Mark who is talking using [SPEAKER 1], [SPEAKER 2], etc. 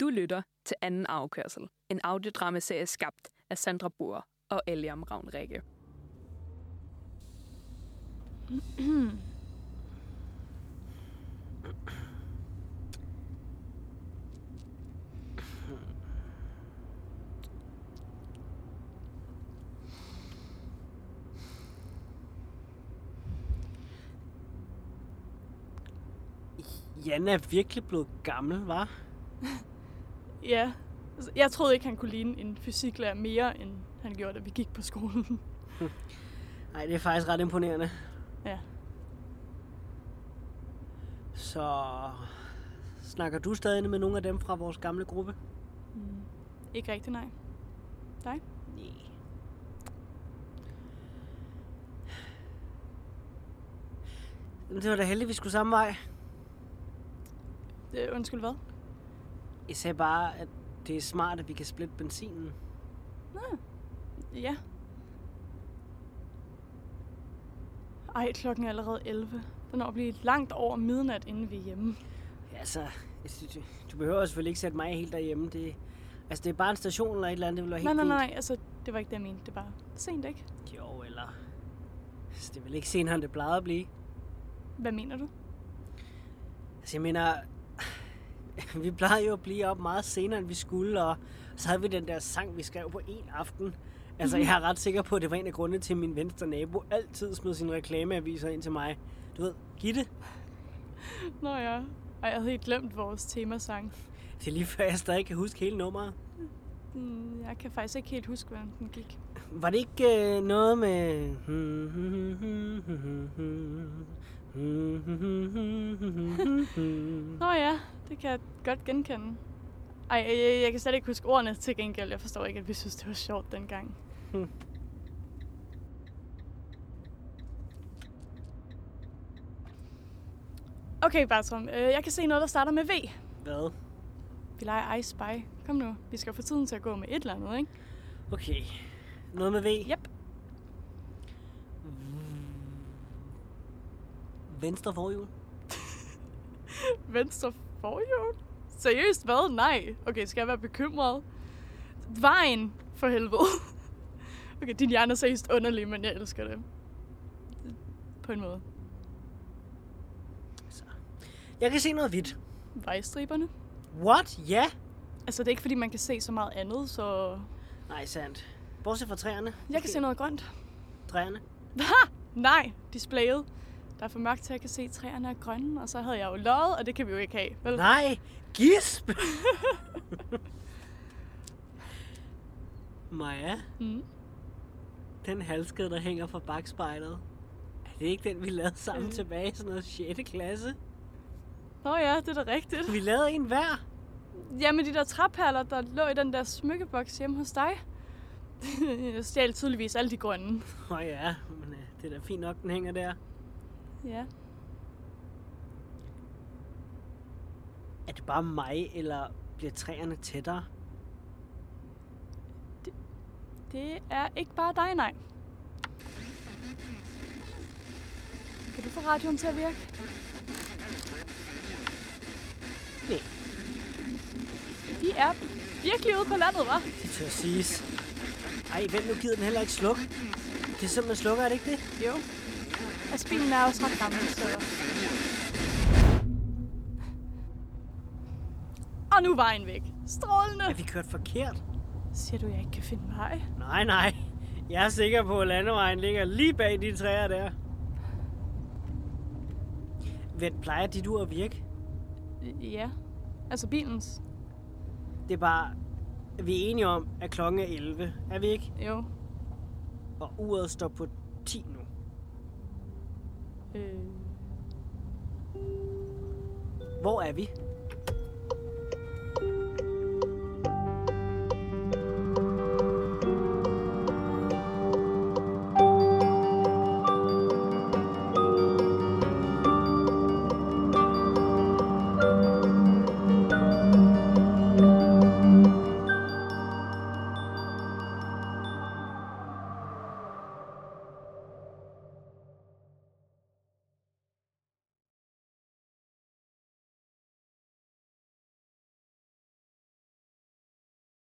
[SPEAKER 1] Du lytter til anden afkørsel. En audiodramaserie skabt af Sandra Boer og Eliam Ravn Rikke.
[SPEAKER 2] Jan er virkelig blevet gammel, var?
[SPEAKER 3] Ja, altså, jeg troede ikke, han kunne ligne en fysiklærer mere, end han gjorde, da vi gik på skolen.
[SPEAKER 2] Nej, det er faktisk ret imponerende.
[SPEAKER 3] ja.
[SPEAKER 2] Så snakker du stadig med nogle af dem fra vores gamle gruppe?
[SPEAKER 3] Mm. Ikke rigtig, nej. Dig?
[SPEAKER 2] Nej. Det var da heldigt, vi skulle samme vej.
[SPEAKER 3] Øh, undskyld, hvad?
[SPEAKER 2] Jeg sagde bare, at det er smart, at vi kan splitte benzinen.
[SPEAKER 3] Ja. Ej, klokken er allerede 11. Den når at blive langt over midnat, inden vi er hjemme.
[SPEAKER 2] Altså, jeg synes, du- du behøver selvfølgelig ikke sætte mig helt derhjemme. Det, altså, det er bare en station eller et eller andet, det vil være
[SPEAKER 3] Nej,
[SPEAKER 2] helt
[SPEAKER 3] nej, nej, altså, det var ikke det, jeg mente. Det var sent, ikke?
[SPEAKER 2] fint. Jo, eller... Altså, det vil ikke senere, end det plejede at blive.
[SPEAKER 3] Hvad mener du?
[SPEAKER 2] Altså, jeg mener, vi plejede jo at blive op meget senere, end vi skulle, og så havde vi den der sang, vi skrev på en aften. Altså, jeg er ret sikker på, at det var en af grundene til, at min venstre nabo altid smed sine reklameaviser ind til mig. Du ved, Gitte,
[SPEAKER 3] Nå ja. Ej, jeg havde helt glemt vores temasang.
[SPEAKER 2] det er lige før, jeg stadig kan huske hele nummeret.
[SPEAKER 3] Mm, Jeg kan faktisk ikke helt huske, hvordan den gik.
[SPEAKER 2] Var det ikke øh, noget med...
[SPEAKER 3] Nå ja, det kan jeg godt genkende. Ej, jeg, jeg kan slet ikke huske ordene til gengæld. Jeg forstår ikke, at vi synes, det var sjovt dengang. Okay, Bartram. øh, Jeg kan se noget, der starter med V.
[SPEAKER 2] Hvad?
[SPEAKER 3] Vi leger I Spy. Kom nu. Vi skal få tiden til at gå med et eller andet, ikke?
[SPEAKER 2] Okay. Noget med V?
[SPEAKER 3] Yep.
[SPEAKER 2] Venstre forhjul?
[SPEAKER 3] Venstre forhjul? Seriøst, hvad? Nej. Okay, skal jeg være bekymret? Vejen, for helvede. Okay, din hjerne er seriøst underlig, men jeg elsker det. På en måde.
[SPEAKER 2] Altså, Jeg kan se noget hvidt.
[SPEAKER 3] Vejstriberne.
[SPEAKER 2] What? Ja?
[SPEAKER 3] Altså, det er ikke, fordi man kan se så meget andet, så...
[SPEAKER 2] Nej, sandt. Bortset fra træerne.
[SPEAKER 3] Jeg kan se noget grønt.
[SPEAKER 2] Træerne.
[SPEAKER 3] Ha! Nej, displayet. Der er for mørkt til, at jeg kan se, at træerne er grønne, og så havde jeg jo løjet, og det kan vi jo ikke have, vel?
[SPEAKER 2] Nej, gisp! Maja,
[SPEAKER 3] Mm.
[SPEAKER 2] den halskede, der hænger fra bagspejlet. Er det ikke den, vi lavede sammen
[SPEAKER 3] Øh.
[SPEAKER 2] tilbage i sådan noget 6. klasse?
[SPEAKER 3] Nå ja, det er da rigtigt.
[SPEAKER 2] Vi lavede en hver.
[SPEAKER 3] Ja, med de der træperler, der lå i den der smykkeboks hjemme hos dig. jeg stjal tydeligvis alle de grønne.
[SPEAKER 2] Åh oh ja, men øh, det er da fint nok, den hænger der.
[SPEAKER 3] Ja.
[SPEAKER 2] Er det bare mig, eller bliver træerne tættere?
[SPEAKER 3] Det er ikke bare dig, nej. Kan du få radioen til at virke?
[SPEAKER 2] Nej.
[SPEAKER 3] De er virkelig ude på landet, hva'?
[SPEAKER 2] Det tør siges. Ej, vent nu gider den heller ikke slukke. Det er simpelthen slukker, er det ikke det?
[SPEAKER 3] Jo. Altså, bilen er også ret gammel, så... Og nu er vejen væk.
[SPEAKER 2] Er
[SPEAKER 3] Strålende!
[SPEAKER 2] vi kørt forkert?
[SPEAKER 3] Siger du, jeg ikke kan finde vej?
[SPEAKER 2] Nej, nej. Jeg er sikker på, at landevejen ligger lige bag de træer der. Vent, plejer dit ur at virke?
[SPEAKER 3] Ja. Altså bilens?
[SPEAKER 2] Det er bare, at vi er enige om, at klokken er 11. Er vi ikke?
[SPEAKER 3] Jo.
[SPEAKER 2] Og uret står på 10 nu.
[SPEAKER 3] Øh.
[SPEAKER 2] Hvor er vi?